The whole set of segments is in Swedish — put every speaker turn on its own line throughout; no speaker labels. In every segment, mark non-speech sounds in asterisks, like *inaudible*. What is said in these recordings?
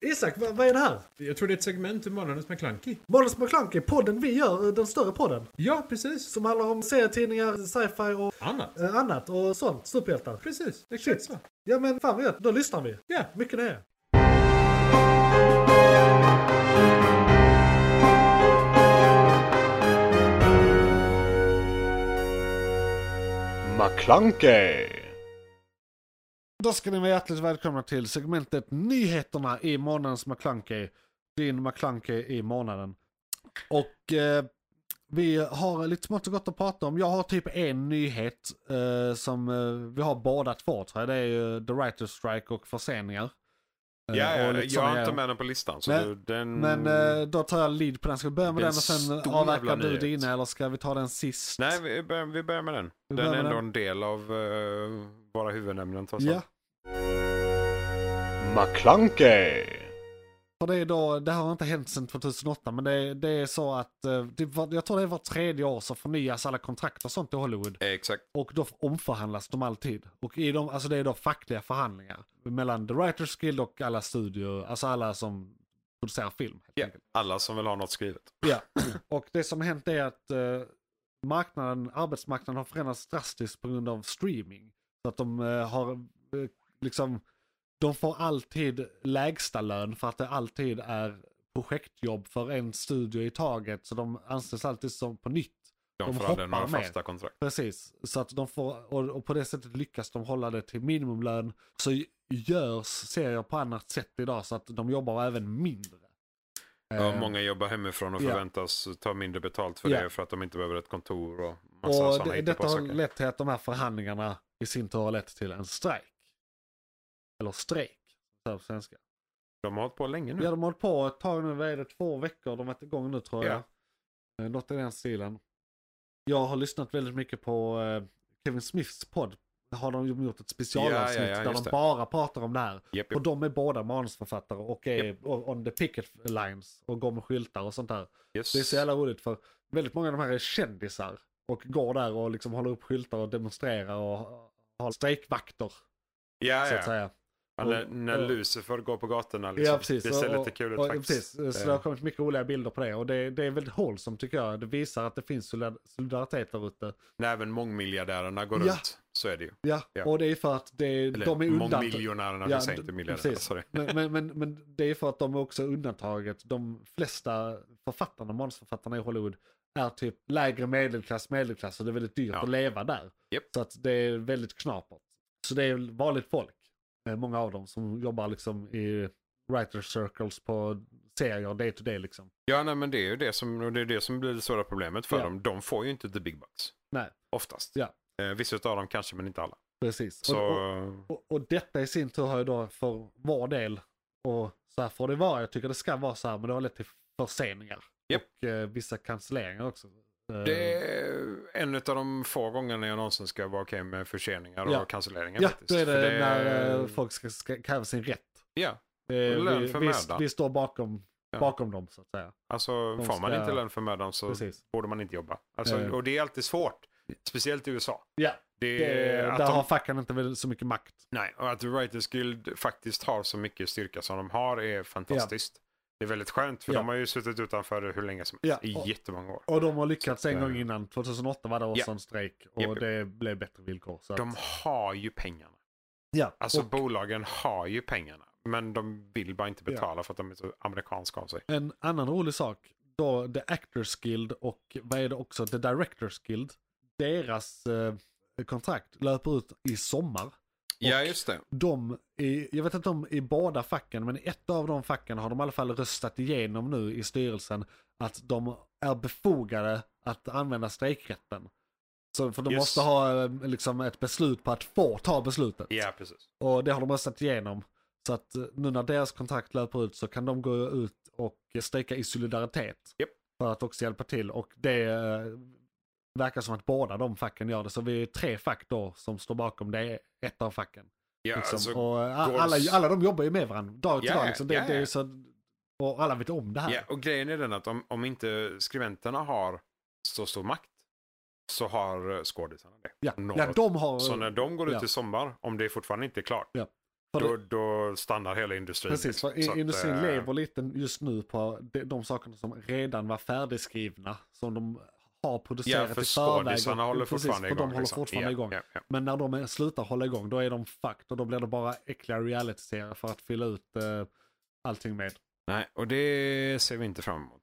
Isak, vad, vad är det här?
Jag tror det är ett segment ur Månadens McKlunky.
Måns McClunky, podden vi gör, eh, den större podden.
Ja, precis.
Som handlar om serietidningar, sci-fi och
Annat.
eh, annat och sånt. Superhjältar.
Precis, exakt så.
Ja men fan vad gött, då lyssnar vi.
Ja,
Mycket nöje.
McClunkey!
Då ska ni vara hjärtligt välkomna till segmentet Nyheterna i månadens McClunkey. Din McClunkey i månaden. Och eh, vi har lite smått och gott att prata om. Jag har typ en nyhet eh, som eh, vi har båda två tror jag. Det är ju The Writers Strike och förseningar. Eh,
Ja, ja
och lite
jag
såna
är inte
grejer.
med den på listan. Så
Men-
du, den...
Men eh, då tar jag lead på den. Ska vi börja med
Det är
den
en
och sen
stor
avverkar
jävla
du
nyhet.
din eller ska vi ta den sist?
Nej, vi börjar, vi börjar med den.
Vi
den
börjar
är
med
ändå
den.
en del av eh, våra huvudämnen. trots
Ja,
allt. McClunkey!
För det är då, det här har inte hänt sedan 2008 men det, det är så att, eh, det var, jag tror det är var tredje år så förnyas alla kontrakt och sånt i Hollywood.
Eh, Exakt.
Och då omförhandlas de alltid. Och i dem, alltså det är då fackliga förhandlingar. Mellan The Writers Guild och alla studior, alltså alla som producerar film. helt
Ja,
enkelt.
alla som vill ha något skrivet.
Ja, och det som har hänt är att eh, marknaden, arbetsmarknaden har förändrats drastiskt på grund av streaming. Så att de eh, har eh, liksom, de får alltid lägsta lön för att det alltid är projektjobb för en studio i taget. Så de anses alltid som på nytt.
De,
De
får aldrig
hoppar
några
med.
fasta kontrakt.
Precis, så att de får, och, och på det sättet lyckas de hålla det till minimumlön. Så görs serier på annat sätt idag så att de jobbar även mindre.
Ja,
Eh,
många jobbar hemifrån och
ja.
förväntas ta mindre betalt för
Ja.
det för att de inte behöver ett kontor och massa typ
Och
sådana
det, detta har
hittepåsaker.
lett till att de här förhandlingarna i sin tur har lett till en strejk. Eller strejk, så här på svenska.
Mm. De har hållit på länge nu.
Ja, de har hållit på ett tag nu, vad är det, två veckor? De har varit igång nu tror jag.
Ja.
Eh, Något i den stilen. Jag har lyssnat väldigt mycket på eh, Kevin Smiths podd. Där har de ju gjort ett specialavsnitt
Ja, ja, ja,
där de
just det.
bara pratar om det här.
Japp,
Och
japp.
de är båda manusförfattare och är on the picket lines och går med skyltar och sånt där.
Yes.
Det är så jävla roligt för väldigt många av de här är kändisar och går där och liksom håller upp skyltar och demonstrerar och har strejkvakter
Ja,
så att
ja.
säga.
Ja, när-
och-
när Lucifer går på gatorna liksom.
Ja, precis.
Det ser
Och-
lite kul ut
och,
faktiskt.
Precis. Så
Eh,
det har kommit mycket roliga bilder på det och det, det är väldigt hållsomt tycker jag. Det visar att det finns solidar- solidaritet där ute.
När även mångmiljardärerna går
Ja.
runt så är det ju.
Ja,
Ja.
och det är för att det,
Eller
de är undantag.
mångmiljonärerna,
Ja,
vi säger
d-
inte miljardärerna.
precis.
Sorry.
Men, men, men, men det är för att de är också undantaget. De flesta författarna, manusförfattarna i Hollywood är typ lägre medelklass, medelklass och det är väldigt dyrt
Ja.
att leva där.
Japp.
Så att det är väldigt knapert. Så det är vanligt folk, eh, många av dem som jobbar liksom i writer circles på serier day to day liksom.
Ja, nej, men det är ju det som, och det, är det som blir det stora problemet för
Ja.
dem. De får ju inte the big bucks.
Nej.
Oftast.
Ja.
Eh, vissa av dem kanske, men inte alla.
Precis. Och-
Så,
och- Och, och detta i sin tur har ju då för vår del, och så här får det vara, jag tycker det ska vara så här, men det har lett till förseningar.
Japp.
Och eh, vissa cancelleringar också. Eh,
det är en av de få gångerna jag någonsin ska vara okej med förseningar
Ja.
och cancelleringar.
ja,
faktiskt.
då är det,
För
när eh, folk ska, ska kräva sin rätt.
Ja,
Eh,
lön
vi,
för
vi,
mödan.
vi står bakom,
Ja.
bakom dem så att säga.
alltså
De
får man
ska-
inte lön för mödan så
Precis.
borde man inte jobba. Alltså,
Eh.
Och det är alltid svårt. Speciellt i USA.
Ja,
Det,
det,
är
där
Eh, att de
har facken inte väl så mycket makt.
Nej, och att The Writers Guild faktiskt har så mycket styrka som de har är fantastiskt. Det är väldigt skönt för
Ja.
de har ju suttit utanför hur länge som
Ja,
helst. I
och-
jättemånga år.
Och de har lyckats
Så att,
en gång
eh,
innan, 2008 var det också
ja.
en strejk och
Japp, japp.
det blev bättre villkor. Så att,
De har ju pengarna.
ja,
Alltså
och-
bolagen har ju pengarna. Men de vill bara inte betala för att de är så amerikanska av sig.
En annan rolig sak, då The Actors Guild och vad är det också, The Directors Guild. Deras eh, kontrakt löper ut i sommar. Ja,
just det.
De, i, jag vet inte om i båda facken, men i ett av de facken har de i alla fall röstat igenom nu i styrelsen att de är befogade att använda strejkrätten. Så, för de
Yes.
måste ha eh, liksom, ett beslut på att få ta beslutet.
Ja, precis.
Och det har de röstat igenom. Så att eh, nu när deras kontrakt löper ut så kan de gå ut och strejka i solidaritet.
Japp.
För att också hjälpa till. Och det eh, verkar som att båda de facken gör det. Så vi är tre fack då som står bakom det, ett av facken.
Ja,
liksom.
alltså,
och eh,
går-
alla, alla de jobbar ju med varandra dag till
Ja,
dag. Liksom. Det,
ja,
det är ju
ja.
så, och alla vet om det här.
ja, och grejen är den att om, om inte skribenterna har så stor makt så har eh, skådisarna det.
Ja.
Något.
Ja, de har...
Så när de går ut
ja.
i sommar, om det fortfarande inte är klart,
Ja. För
Då, då stannar hela industrin.
Precis,
liksom.
för i-
Så att,
industrin
eh,
lever lite just nu på de, de sakerna som redan var färdigskrivna. Som de har
Ja,
producerat
för
i förväg.
skådisarna håller
Precis,
fortfarande
för
igång.
de håller
liksom.
fortfarande
Ja,
igång.
ja, ja.
Men när de är- slutar hålla igång då är de fucked och då blir det bara äckliga reality-serier för att fylla ut eh, allting
Mm.
med.
Nej, och det ser vi inte fram emot.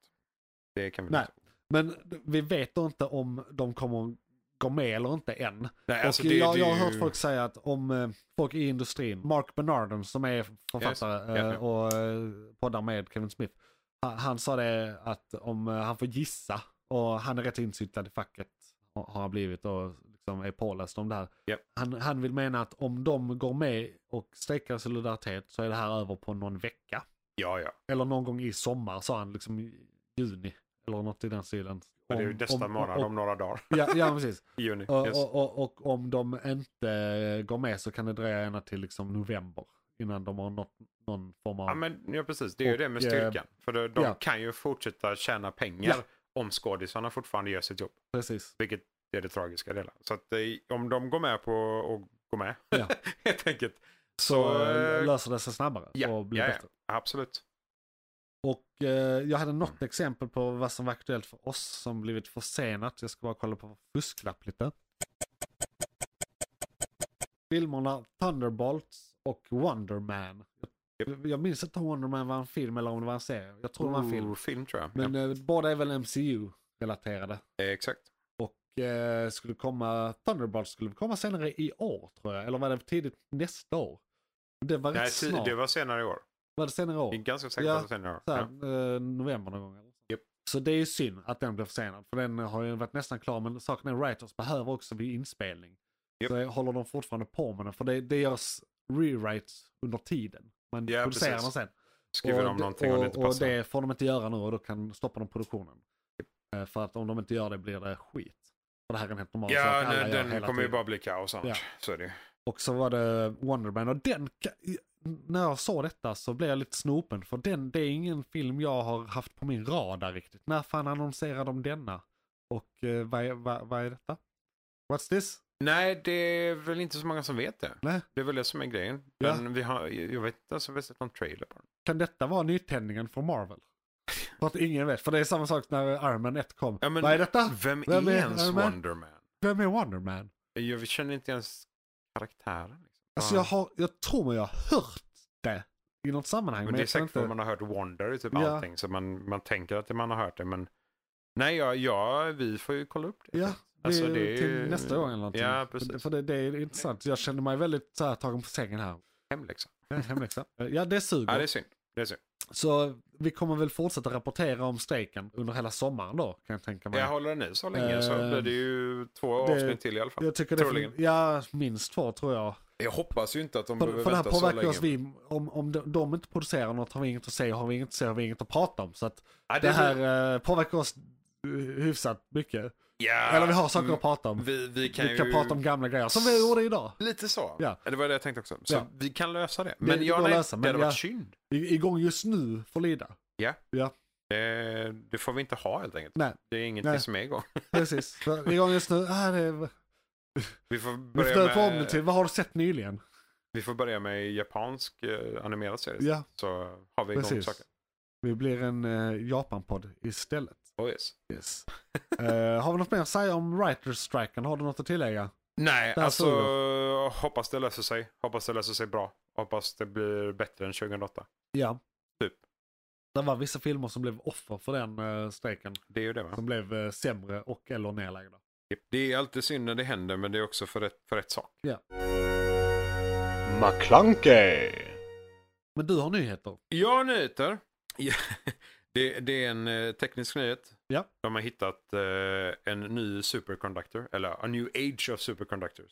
Det kan vi
Nej.
inte.
Men vi vet då inte om de kommer gå med eller inte än.
Nej,
Och
alltså, det,
jag,
det är
jag har
ju-
hört folk säga att om eh, folk i industrin, Mark Bernardon som är författare
Yes. Ja,
eh,
ja.
och eh, poddar med Kevin Smith. Han, han sa det att om eh, han får gissa och han är rätt insyltad i facket har har han blivit och liksom är påläst om det här.
Ja.
Han, han vill mena att om de går med och strejkar i solidaritet så är det här över på någon vecka.
Ja, ja.
Eller någon gång i sommar sa han, liksom i juni. Eller något i den stilen.
Och det är ju
Om-
nästa månad, om
om,
några dagar.
ja, ja, precis.
I juni.
Och,
Yes.
och, och, och om de inte går med så kan det dröja ända till liksom november innan de har nått någon form av...
Ja, men, ja, precis. Det är ju
Och,
det med
eh,
styrkan. För de, de
ja.
kan ju fortsätta tjäna pengar
Ja.
om skådisarna fortfarande gör sitt jobb.
Precis.
Vilket är det tragiska delen. Så att eh, om de går med på och går med,
Ja.
*laughs* helt enkelt.
Så, eh, löser det sig snabbare
ja,
och blir
ja, ja.
bättre.
Absolut.
Och eh, jag
Mm.
hade något exempel på vad som var aktuellt för oss som blivit försenat. Jag ska bara kolla på fusklapp lite. Filmerna Thunderbolts och Wonder Man. Jag- Jag minns inte om Wonder Man var en film eller om det var en serie. Jag tror det var en film.
Ooh, film tror jag.
Men
ja.
eh, båda är väl MCU-relaterade.
Eh, Exakt.
Och eh, skulle komma, Thunderbolt skulle komma senare i år tror jag. Eller var det tidigt nästa år? Det var
Nej,
rätt
ti-
snart.
det var senare i år.
var det senare i år?
Jag är ganska säker på
Ja,
att det var senare i år.
Så här,
Ja.
eh, november någon gång. Eller? så.
Japp.
Så det är ju synd att den blev försenad. För den har ju varit nästan klar. Men saken är writers behöver också vid inspelning.
Japp.
Så håller de fortfarande på med den. För det, det görs rewrites under tiden. Man
Ja,
producerar
precis.
den sen.
Skriver de
d-
någonting
och,
och det inte
och
passar.
det får de inte göra nu och då kan stoppa de produktionen. Eh, För att om de inte gör det blir det skit. För det här är en helt normal sak
ja,
alla
nej,
gör
den
hela
kommer ju
tiden.
bara bli kaos annars.
Ja.
Så är det ju.
Och så var det Wonderman och den, ka- när jag såg detta så blev jag lite snopen för den, det är ingen film jag har haft på min radar riktigt. När fan annonserade de denna? Och eh, vad, är, vad, vad är detta? What's this?
Nej, det är väl inte så många som vet det.
Nej.
Det är väl det som är grejen.
Ja.
Men vi har, jag vet inte ens om vi har sett någon trailer på den.
Kan detta vara nytändningen för
*laughs*
Marvel? För att ingen vet, för det är samma sak när Iron Man 1 kom.
Ja, men-
vad är detta?
Vem,
Vem
är
är-
ens
är det med?
Wonderman?
Vem är Wonderman?
Jag känner inte ens karaktären. Liksom.
Alltså
Ja.
jag, har, jag tror mig jag har hört det i något sammanhang.
Men det är
jag tror
säkert för
inte...
att man har hört Wonder i typ
Ja.
allting. Så man, man tänker att man har hört det men nej, ja, ja, vi får ju kolla upp det.
Ja, det,
Alltså,
är
det är ju-
till nästa gång eller någonting.
Ja, precis.
För- För det, det är intressant. Jag känner mig väldigt så här, tagen på sängen här.
Hemläxa.
Det är en
*laughs*
Hemläxa. ja, det suger.
liksom. Ja, det är synd. Det är synd.
Så vi kommer väl fortsätta rapportera om strejken under hela sommaren då, kan jag tänka mig.
Jag håller den i så länge så
Eh,
blir det ju två
det-
avsnitt till i alla fall.
Jag tycker det är,
Troligen.
ja, minst två tror jag.
Jag hoppas ju inte att de
För,
behöver
för det här
vänta så länge.
påverkar oss vi, om, om de, de inte producerar något har vi inget att säga, har vi inget att säga har vi inget att prata om. Så att
Ja,
det här
blir-
eh, påverkar oss eh, hyfsat mycket.
ja,
Eller vi har saker
mm,
att prata om.
Vi, vi kan
Vi kan
ju...
prata om gamla grejer, som vi gjorde idag.
Lite så.
Ja.
Det var det jag tänkte också. Så
Ja.
vi kan lösa det.
Det
Men
går
jag,
att
nej,
lösa,
det
men
hade
ja.
varit synd.
I- igång just nu för Lida.
Det, Eh, det får vi inte ha helt enkelt.
Nej.
Det är ingenting
Nej.
som är igång.
Precis. *laughs* För igång just nu. Ah, det,
Vi får
vi
börja
får döpa om
med...
det till, vad har du sett nyligen?
Vi får börja med japansk eh, animerad serie.
Ja,
Så har vi igång
Precis.
saker.
vi blir en eh, Japan-podd istället.
Oh, yes.
Yes. *laughs* Eh, har vi något mer att säga om writers striken? Har du något att tillägga?
Nej,
Det här
alltså
såg
hoppas det löser sig. Hoppas det löser sig bra. Hoppas det blir bättre än 2008.
Ja.
Typ.
Det var vissa filmer som blev offer för den uh, strejken.
Det är ju det va?
Som blev eh, sämre och eller nedlagda.
Det är alltid synd när det händer men det är också för rätt, för rätt sak.
McClunkey.
Men du har nyheter.
Ja, nyheter. Ja, *laughs* Det, det är en eh, teknisk nyhet.
Ja.
De har hittat eh, en ny superconductor, eller a new age of superconductors.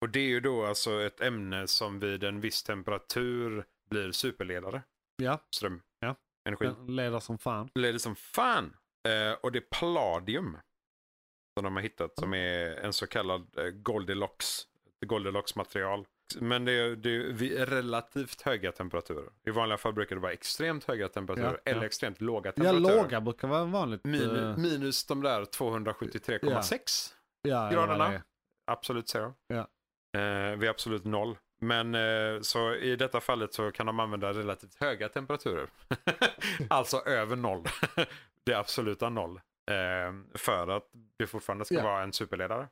Och det är ju då alltså ett ämne som vid en viss temperatur blir superledare.
Ja.
Ström.
Ja.
Energi.
Den leder som fan.
leder som fan. Eh, och det är palladium. Som de har hittat som är en så kallad eh, Goldilocks. Goldilocks material. Men det är, det är vid relativt höga temperaturer. I vanliga fall brukar det vara extremt höga temperaturer.
Ja, ja.
Eller extremt låga
Ja,
temperaturer.
låga brukar vara vanligt. eh,
Minus, minus de där 273,6.
ja, ja,
graderna.
det-
Absolut zero.
Ja.
Eh, vid absolut noll. Men eh, så i detta fallet så kan de använda relativt höga temperaturer. *laughs* alltså över noll. *laughs* det absoluta noll. Eh, för att det fortfarande ska
Ja.
vara en superledare.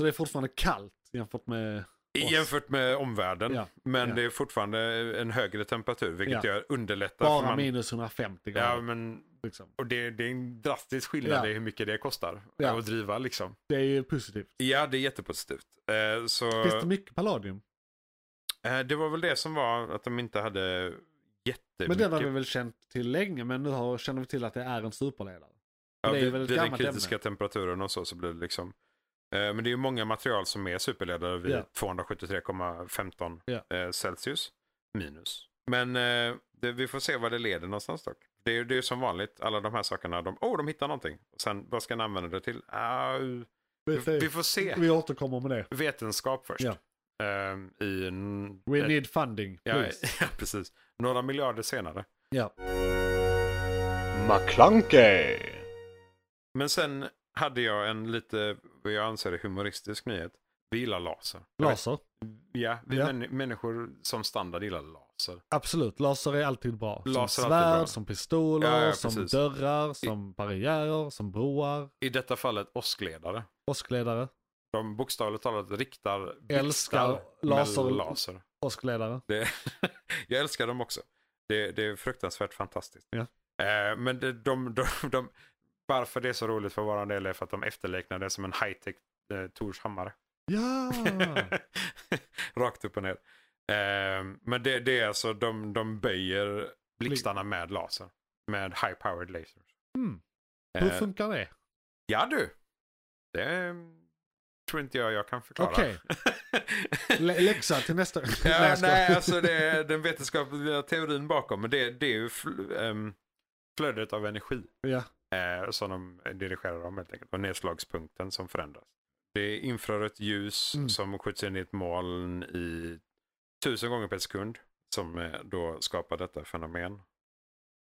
Så det är fortfarande kallt jämfört med... Oss.
Jämfört med omvärlden.
Ja.
Men
Ja.
det är fortfarande en högre temperatur vilket
Ja.
gör underlättar. för
Bara
man-
minus 150 grader.
Ja, men,
liksom.
och det, det är en drastisk skillnad
Ja.
i hur mycket det kostar
Ja.
att driva liksom.
Det är ju positivt.
Ja, det är jättepositivt. Eh, så,
Finns det mycket palladium?
eh, det var väl det som var att de inte hade jättemycket.
Men den har vi väl känt till länge, men nu har, känner vi till att det är en superledare.
Ja,
Det är
vid,
väl ett
vid den
gammalt ämne.
kritiska temperaturen och så, så blir det liksom. Eh, men det är ju många material som är superledare vid
Ja.
273,15
Ja.
eh, Celsius minus. Men eh, det, vi får se vad det leder någonstans dock. Det är ju det är ju som vanligt, alla de här sakerna, de, oh, de hittar någonting. Och sen, vad ska ni använda det till? Ah, vi, vi får se.
Vi återkommer med det.
Vetenskap först.
Ja.
Eh, I en,
We
ett-
need funding,
Eh, ja,
please.
*laughs* ja, precis. Några miljarder senare.
Ja.
McClunkey,
Men sen hade jag en lite, vad jag anser är humoristisk nyhet. Vi gillar laser. Jag vet-
Laser.
Ja, vi
Ja.
män- människor som standard gillar laser.
Absolut, laser är alltid bra.
Laser är
som
alltid
svärd,
bra.
som pistoler,
Ja, ja,
som
precis.
dörrar, som barriärer, som broar,
I detta fallet åskledare.
åskledare,
De bokstavligt talat riktar
Älskar
blixtar
laser.
mellan laser.
åskledare.
Det, *laughs* jag älskar dem också. Det, det är fruktansvärt fantastiskt.
Ja.
Eh, men det, de, de, de, varför det är så roligt för våran del är för att de efterliknar det som en high-tech eh, Tors hammare. *laughs*
Ja!
Rakt upp och ner. Eh, men det, det är alltså, de, de böjer blixtarna med laser. Med high-powered lasers.
Mm. Hur
Eh,
funkar det?
Ja du. Det mm, tror inte jag jag kan förklara. *laughs*
Okej. Lä- läxa till nästa...
ja,
jag skojar.
nej, alltså det är den vetenskapliga teorin bakom. Men det, det är ju fl- ehm, flödet av energi
ja.
eh, som de dirigerar om helt enkelt. Och nedslagspunkten som förändras. Det är infrarött ljus
Mm.
som skjuts in i ett moln i tusen gånger per sekund. Som eh, då skapar detta fenomen.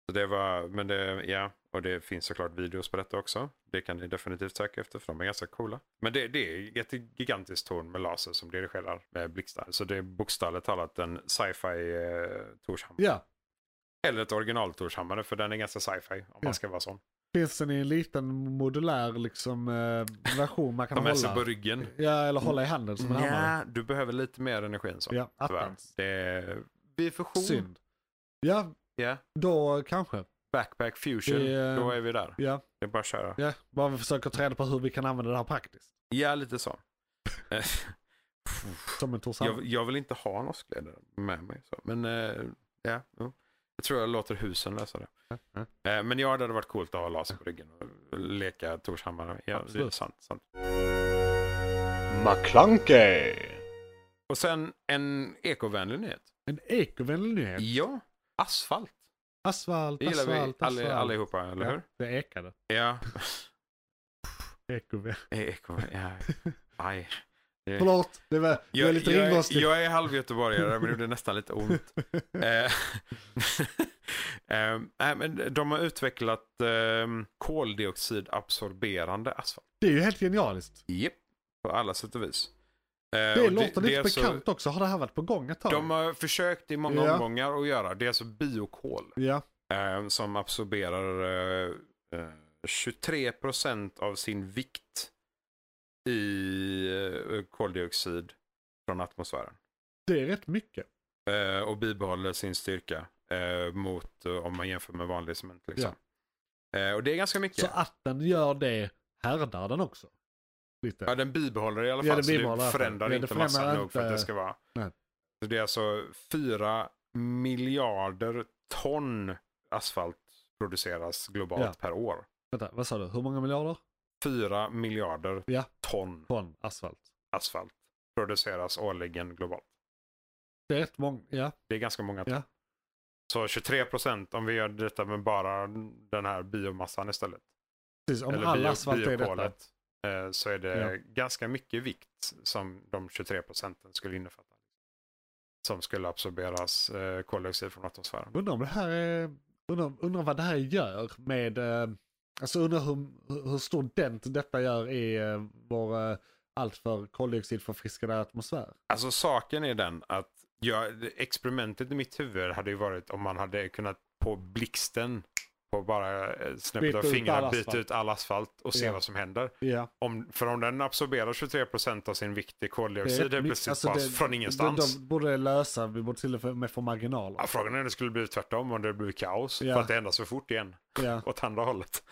Så det var, men det, ja, och det finns såklart videos på detta också. Det kan ni definitivt söka efter för de är ganska coola. Men det, det är ett gigantiskt torn med laser som dirigerar eh, blixtar. Så det är bokstavligt talat en sci-fi eh, Torshammare.
ja.
Eller ett original Torshammare för den är ganska sci-fi om
Ja.
man ska vara sån.
Finns den i en liten modulär liksom, eh, version man kan
*laughs* De är så
hålla?
på ryggen.
Ja, eller hålla i handen som en hammare.
Ja, du behöver lite mer energi än så.
Ja,
tyvärr.
attans.
Det är vid fusion.
Synd. Ja,
Ja,
då kanske.
backpack fusion.
Det är-
Då är vi där.
Ja,
Det är bara att köra.
ja. Bara vi försöker ta reda på hur vi kan använda det här praktiskt.
Ja, lite så. Eh,
Som en Torshälla.
jag, jag vill inte ha en åskledare med mig. Så. Men eh, ja, jo. jag tror jag låter husen lösa det. Eh, Men ja, det hade varit coolt att ha laser på ryggen och leka Torshammare. Ja, det är
Absolut.
sant, sant.
McClunkey,
Och sen en ekovänlig nyhet.
En ekovänlig nyhet.
Ja, asfalt.
Asfalt,
Det gillar
asfalt,
vi
asfalt.
alle, allihopa, eller
ja,
hur?
det ekade.
Ja. *laughs*
Ekovänlig.
Ekovänlig, ja. Aj. Det-
Förlåt, det var, det var
Jag,
lite
jag,
ringrostigt.
jag är halvgöteborgare men det gjorde nästan lite ont. Eh, *laughs* eh, nej, men de har utvecklat eh, koldioxidabsorberande asfalt.
*laughs* Det är ju helt genialiskt.
Yep. På alla sätt och vis. Eh,
Det
och
låter
det
lite
är alltså-
bekant också. Har det här varit på gång ett tag?
De har försökt i många
Ja.
omgångar att göra. Det är alltså biokol
Ja,
eh, som absorberar eh, eh, 23% av sin vikt i eh, koldioxid från atmosfären.
det är rätt mycket.
Eh, och bibehåller sin styrka eh, mot eh, om man jämför med vanlig cement. Liksom. Eh, och det är ganska mycket.
Så att den gör det härdar den också. Lite.
ja, den bibehåller i alla
Ja,
fall.
den
så
bibehåller i alla
det
fall.
förändrar
Ja, det
inte
förändrar
massan nog för att det
inte-
ska vara.
Nej.
Så det är alltså fyra miljarder ton asfalt produceras globalt
Ja.
per år.
Vänta, vad sa du? Hur många miljarder?
Fyra miljarder
Ja.
ton
Ton asfalt.
asfalt produceras årligen globalt.
Det är rätt många, ja.
Det är ganska många ton.
Ja.
Så 23 procent om vi gör detta med bara den här biomassan istället.
Precis, om
eller
all
bio,
asfalt är detta.
biokolet, eh, så är det ganska mycket vikt som de 23 procenten skulle innefatta. Som skulle absorberas eh, koldioxid från atmosfären.
Undrar om det här är, undrar, undrar vad det här gör med, eh, alltså undrar hur, hur stor dent detta gör i eh, vår eh, alltför koldioxidförfriskade atmosfär.
Alltså saken är den att Ja, experimentet i mitt huvud hade ju varit om man hade kunnat på blixten på bara eh, snäppet
Byta
av
ut all
fingrarna
asfalt.
byta ut all asfalt och se
Ja.
vad som händer.
Ja.
Om, för om den absorberar 23% av sin vikt i koldioxid det är plötsligt
alltså,
bara
det-
från ingenstans.
De, de borde lösa, vi borde till och med få marginaler.
ja, frågan är om det skulle bli tvärtom, om det blir kaos.
Ja.
För att det ändras för fort igen,
Ja,
*laughs* åt andra hållet.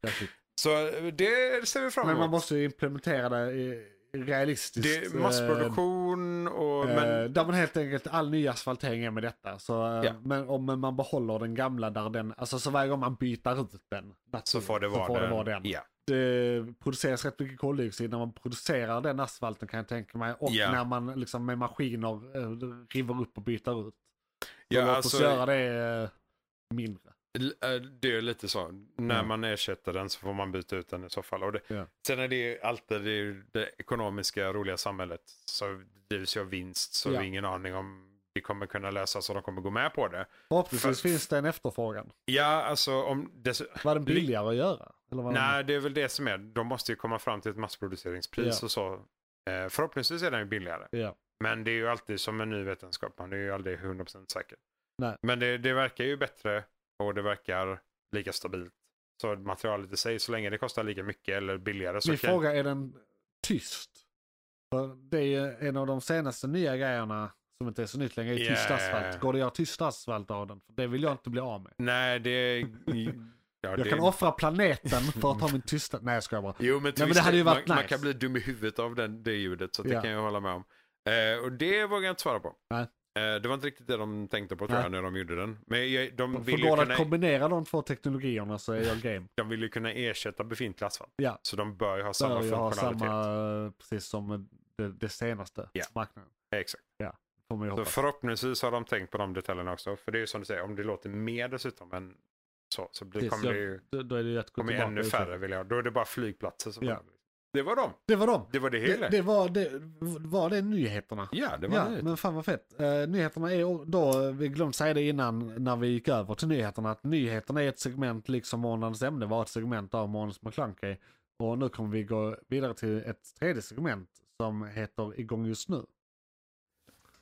jag tycker-
Så eh, det ser vi fram
men
emot.
man måste ju implementera det i- i realistiskt.
Det är massproduktion och...
eh,
men,
eh, Där man helt enkelt, all ny asfaltering är med detta. Så, eh,
Ja.
Men om man behåller den gamla där den, alltså så varje gång man byter ut den.
så får det
så
vara
får det
den.
vara den.
Ja.
Det produceras rätt mycket koldioxid när man producerar den asfalten kan jag tänka mig. Och
Ja.
när man liksom med maskiner eh, river upp och byter ut. Så
Ja,
låt oss
alltså,
göra det eh, mindre.
L- eh, Det är lite så. När
Ja.
man ersätter den så får man byta ut den i så fall. Och det,
Ja.
Sen är det ju alltid det, är ju det ekonomiska roliga samhället. Så drivs ju av vinst så
Ja.
vi har ingen aning om det kommer kunna lösas och de kommer gå med på det.
Förhoppningsvis
Fast-
finns det en efterfrågan.
Ja, alltså om... Dess...
Var den billigare att göra? Eller var den-
Nej, det är väl det som är. De måste ju komma fram till ett massproduceringspris
Ja.
och så. Eh, Förhoppningsvis är den ju billigare.
Ja.
Men det är ju alltid som en ny vetenskap. Man är ju aldrig 100% säker.
Nej.
Men det, det verkar ju bättre och det verkar lika stabilt. Så materialet i sig, så länge det kostar lika mycket eller billigare så
Min
kan...
fråga är den tyst? För det är ju en av de senaste nya grejerna som inte är så nytt längre, är
Ja,
tyst
ja, ja.
asfalt. Går det att göra tyst asfalt av den? För det vill jag inte bli av med. *laughs*
Nej, det... Ja,
Jag
det...
kan offra
*laughs*
planeten för att ha min tysta... Nej jag skojar bara.
Jo, men,
men
visst,
det hade ju
man,
varit
man
nice.
kan bli dum i huvudet av den, det ljudet, så det
Ja.
kan jag hålla med om. Eh, och det vågar jag inte svara på.
Nej.
Eh, det var inte riktigt det de tänkte på tror
Nej.
jag när de gjorde den. Men jag, de,
För
vill ju
går det
kunna,
att kombinera de två teknologierna så är jag game.
de vill ju kunna ersätta befintlig asfalt.
Ja.
Så de bör ju ha samma
Där jag har
funktionalitet.
samma, eh, precis som det, det senaste
Ja.
marknaden.
Exakt.
Får man ju
Så
hoppas.
förhoppningsvis har de tänkt på de detaljerna också. För det är ju som du säger, om det låter mer dessutom än så, så blir,
Precis,
kommer
jag
det ju
Då- Då är det ju att gå
kommer ju
tillbaka.
ännu
och
färre
utveckla.
vill jag. Då är det bara flygplatser som
Ja.
kommer. Det var dem.
Det var dem.
Det var det hela.
Det, det, var, det var det nyheterna.
ja, det var
Ja,
det.
men fan vad fett. Eh, nyheterna är då, eh, vi glömde säga det innan när vi gick över till nyheterna, att nyheterna är ett segment liksom månadens ämne var ett segment av månadens McClunky. Och nu kommer vi gå vidare till ett tredje segment som heter Igång just nu.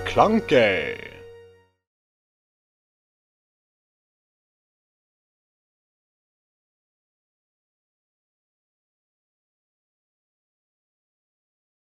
McClunkey.